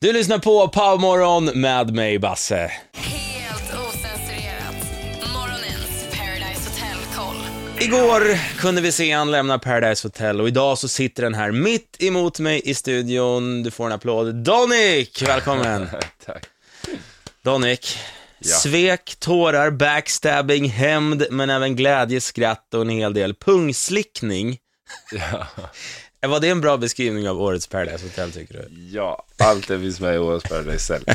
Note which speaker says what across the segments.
Speaker 1: Du lyssnar på Powermorgon med mig, Basse.
Speaker 2: Helt osensurerat. Morgonens Paradise Hotel koll.
Speaker 1: Igår kunde vi se han lämna Paradise Hotel och idag så sitter den här mitt emot mig i studion. Du får en applåd. Donic, välkommen!
Speaker 3: Tack.
Speaker 1: Donic,
Speaker 3: Ja.
Speaker 1: svek, tårar, backstabbing, hämnd, men även glädje, skratt och en hel del pungslickning.
Speaker 3: Ja.
Speaker 1: Var det en bra beskrivning av årets Paradise Hotel, tycker du?
Speaker 3: ja, allt det finns med i årets Paradise Hotel.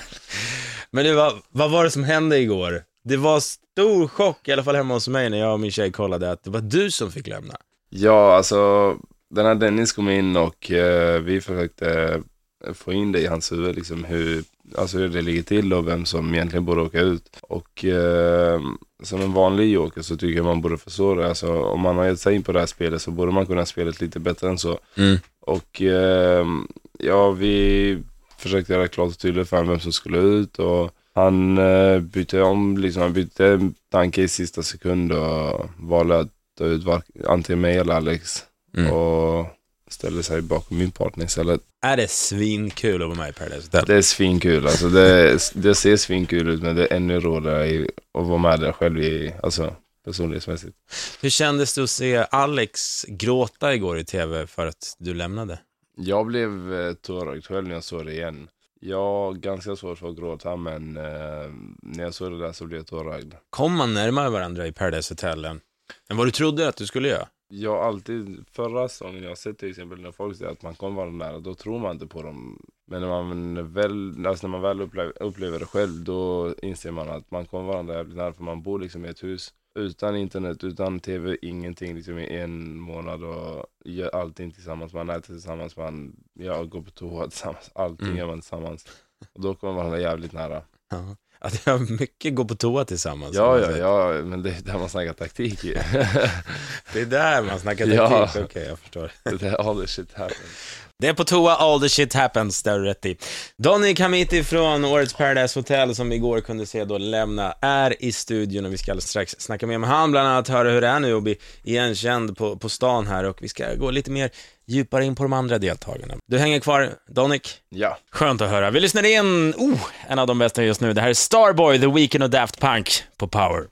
Speaker 1: Men du, vad, vad var det som hände igår? Det var stor chock, i alla fall hemma hos mig, när jag och min tjej kollade att det var du som fick lämna.
Speaker 3: Ja, alltså, den här Dennis kom in och eh, vi försökte eh, få in det i hans huvud, liksom hur, alltså hur det ligger till och vem som egentligen borde åka ut. Och eh, som en vanlig joker så tycker jag man borde förstå det. Alltså, om man har gett sig in på det här spelet så borde man kunna spela lite bättre än så.
Speaker 1: Mm.
Speaker 3: Och eh, ja, vi försökte göra klart och tydligt för honom vem som skulle ut och han eh, bytte om, liksom, han bytte tanke i sista sekund och valde att ta ut var- antingen mig eller Alex
Speaker 1: Mm.
Speaker 3: och ställde sig bakom min partner istället.
Speaker 1: Är det svinkul att vara med i Paradise Hotel?
Speaker 3: Det är svinkul alltså, det, det ser svinkul ut men det är ännu rådare i- att vara med där själv i, alltså personlighetsmässigt.
Speaker 1: Hur kändes det att se Alex gråta igår i tv för att du lämnade?
Speaker 3: Jag blev eh, tårögd själv när jag såg det igen. Jag har ganska svårt för att gråta men eh, när jag såg det där så blev jag tårögd.
Speaker 1: Kom man närmare varandra i Paradise Hotel än än vad du trodde att du skulle göra?
Speaker 3: Jag har alltid, förra säsongen jag har sett till exempel när folk säger att man kommer vara nära, då tror man inte på dem. Men när man väl, alltså när man väl upplever, upplever det själv, då inser man att man kommer varandra jävligt nära, för man bor liksom i ett hus utan internet, utan tv, ingenting liksom i en månad och gör allting tillsammans. Man äter tillsammans, man ja, går på toa tillsammans, allting
Speaker 1: Mm.
Speaker 3: gör man tillsammans. Och då kommer varandra jävligt nära.
Speaker 1: Ja. Att jag mycket går på toa tillsammans.
Speaker 3: Ja, ja, ja, men det är där man snackar taktik ju.
Speaker 1: Det är där man snackar
Speaker 3: Ja.
Speaker 1: taktik. Okej, jag förstår.
Speaker 3: det är all the shit happens.
Speaker 1: Det är på toa, all the shit happens, där har du rätt i. Donny Kamiti från årets Paradise Hotel, som vi igår kunde se då lämna, är i studion och vi ska alldeles strax snacka mer med han, bland annat höra hur det är nu att bli igenkänd på, på stan här och vi ska gå lite mer djupare in på de andra deltagarna. Du hänger kvar, Donic?
Speaker 3: Ja.
Speaker 1: Skönt att höra. Vi lyssnar in, oh, en av de bästa just nu. Det här är Starboy, The Weeknd och Daft Punk på Power.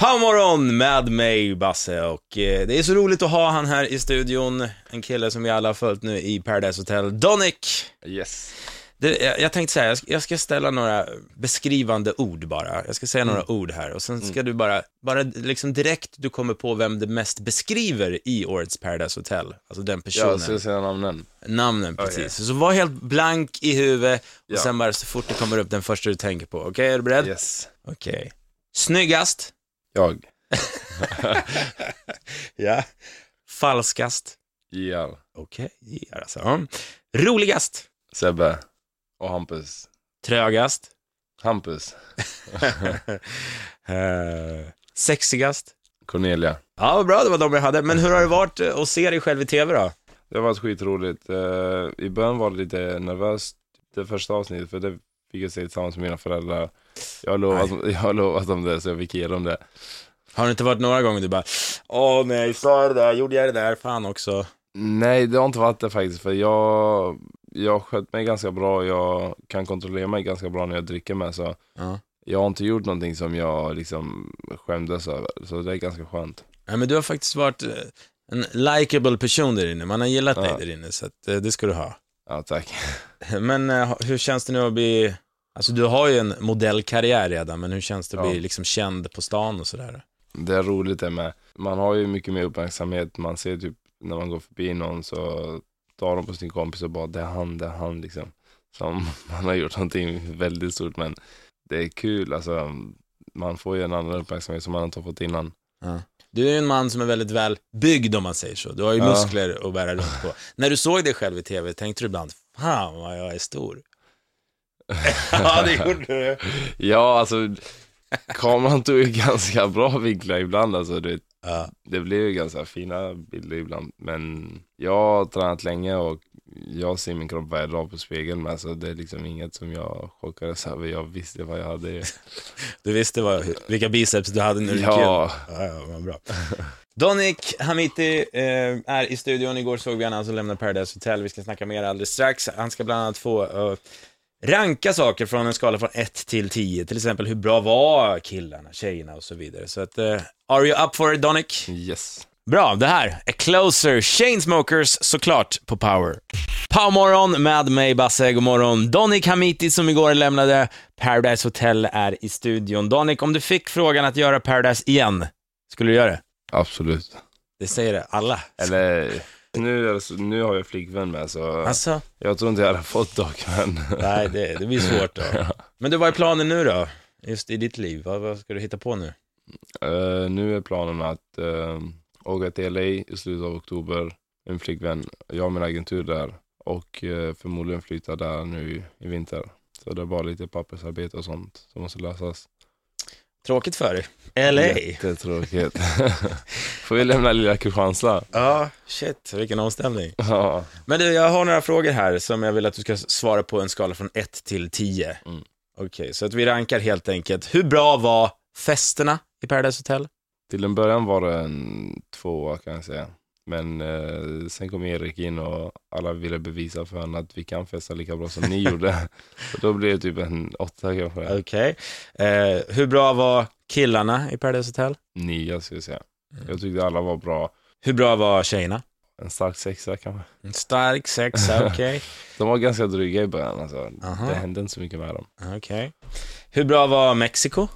Speaker 1: Powermorgon med mig, Basse, och eh, det är så roligt att ha han här i studion. En kille som vi alla har följt nu i Paradise Hotel, Donic.
Speaker 3: Yes.
Speaker 1: Det, jag, jag tänkte säga, jag, ska- jag ska ställa några beskrivande ord bara. Jag ska säga några ord här och sen ska du bara, bara liksom direkt du kommer på vem det mest beskriver i årets Paradise Hotel, alltså den personen
Speaker 3: Ja, så jag säger namnen.
Speaker 1: namnen precis.
Speaker 3: Okej.
Speaker 1: Så var helt blank i huvudet och
Speaker 3: Ja.
Speaker 1: sen bara så fort det kommer upp den första du tänker på. Okej, är du beredd?
Speaker 3: Yes.
Speaker 1: Okej. Snyggast.
Speaker 3: Jag.
Speaker 1: Ja. Falskast.
Speaker 3: JR.
Speaker 1: Okej, ja, alltså. Mm. Roligast.
Speaker 3: Sebbe. Och Hampus.
Speaker 1: Trögast.
Speaker 3: Hampus.
Speaker 1: Eh, sexigast.
Speaker 3: Cornelia.
Speaker 1: Ja, vad bra, det var de jag hade. Men hur har det varit eh, att se dig själv i tv då?
Speaker 3: Det har varit skitroligt. Eh, I början var det lite nervöst, det första avsnittet, för det fick jag se tillsammans med mina föräldrar. Jag har lovat, jag har lovat dem det, så jag fick ge dem det.
Speaker 1: Har det inte varit några gånger du bara, åh nej, sa jag det där, gjorde jag det där, fan också.
Speaker 3: Nej, det har inte varit det faktiskt, för jag, jag har skött mig ganska bra och jag kan kontrollera mig ganska bra när jag dricker med, så
Speaker 1: Ja.
Speaker 3: jag har inte gjort någonting som jag liksom skämdes över, så det är ganska skönt.
Speaker 1: Nej, men du har faktiskt varit eh, en likable person där inne. Man har gillat dig
Speaker 3: Ja.
Speaker 1: där inne, så att, eh, det ska du ha.
Speaker 3: Ja, tack.
Speaker 1: Men eh, hur känns det nu att bli, alltså du har ju en modellkarriär redan, men hur känns det att
Speaker 3: Ja.
Speaker 1: bli liksom känd på stan och sådär?
Speaker 3: Det är roligt det med, man har ju mycket mer uppmärksamhet, man ser typ när man går förbi någon så tar de på sin kompis och bara det är han, det är han liksom. Som man har gjort någonting väldigt stort men det är kul alltså, man får ju en annan uppmärksamhet som man inte har fått innan.
Speaker 1: Du är ju en man som är väldigt väl byggd om man säger så. Du har ju
Speaker 3: Ja.
Speaker 1: muskler att bära runt på. När du såg dig själv i tv, tänkte du ibland, fan vad jag är stor? ja, det gjorde du.
Speaker 3: Ja alltså, kameran tog ju ganska bra vinklar ibland alltså, det,
Speaker 1: Ja.
Speaker 3: det blev ju ganska fina bilder ibland men jag har tränat länge och jag ser min kropp varje dag på spegeln med så det är liksom inget som jag chockades över, jag visste vad jag hade.
Speaker 1: Du visste vad, vilka biceps du hade när du gick in.
Speaker 3: Ja,
Speaker 1: Ja, ja, vad bra. Donic Hamiti eh, är i alltså studion. Igår såg vi honom som lämnar Paradise Hotel. Vi ska snacka mer alldeles strax. Han ska bland annat få eh, ranka saker från en skala från 1 till 10. Till exempel hur bra var killarna, tjejerna och så vidare. Så att, eh, are you up for it Donic?
Speaker 3: Yes.
Speaker 1: Bra, det här är Closer, Chainsmokers såklart på Power. Powermorgon med mig Basse, god morgon. Donny Kamiti som igår lämnade Paradise Hotel är i studion. Donic, om du fick frågan att göra Paradise igen, skulle du göra det?
Speaker 3: Absolut.
Speaker 1: Det säger det, alla.
Speaker 3: Eller, nu, är det så- nu har jag flickvän med så
Speaker 1: Alltså,
Speaker 3: jag tror inte jag hade fått dock men.
Speaker 1: nej det, det blir svårt då. Men du, vad är planen nu då? Just i ditt liv, vad, vad ska du hitta på nu?
Speaker 3: Eh, nu är planen att eh, åka till LA i slutet av oktober. En flickvän, jag har min agentur där och eh, förmodligen flytta där nu i vinter. Så det är bara lite pappersarbete och sånt som måste lösas.
Speaker 1: Tråkigt för dig. LA.
Speaker 3: Jättetråkigt. Får vi lämna lilla Kristianstad?
Speaker 1: Ja, shit, vilken omställning.
Speaker 3: Ja.
Speaker 1: Men du, jag har några frågor här som jag vill att du ska svara på en skala från 1 till 10.
Speaker 3: Mm.
Speaker 1: Okej, så att vi rankar helt enkelt. Hur bra var festerna i Paradise Hotel?
Speaker 3: Till en början var det en tvåa kan jag säga. Men eh, sen kom Erik in och alla ville bevisa för honom att vi kan festa lika bra som ni gjorde. Så då blev det typ en åtta kanske.
Speaker 1: Okej. Eh, hur bra var killarna i Paradise Hotel?
Speaker 3: Nia skulle jag säga. Jag tyckte alla var bra.
Speaker 1: Hur bra var tjejerna?
Speaker 3: En stark sexa kanske.
Speaker 1: En stark sexa, okej.
Speaker 3: De var ganska dryga i början alltså.
Speaker 1: Aha.
Speaker 3: Det hände inte så mycket med dem.
Speaker 1: Okej. Hur bra var Mexiko?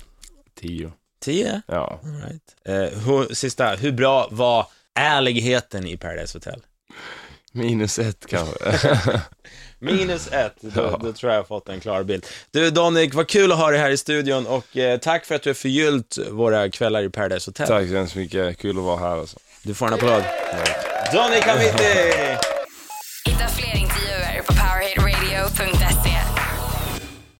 Speaker 3: Tio.
Speaker 1: 10.
Speaker 3: Ja.
Speaker 1: All right. eh, hur, sista, hur bra var ärligheten i Paradise Hotel?
Speaker 3: Minus ett kanske.
Speaker 1: Minus ett, då,
Speaker 3: Ja.
Speaker 1: då tror jag jag fått en klar bild. Du Donik, vad kul att ha dig här i studion och eh, tack för att du har förgyllt våra kvällar i Paradise Hotel.
Speaker 3: Tack så hemskt mycket. Kul att vara här alltså.
Speaker 1: Du får en applåd. Donik Hamiti!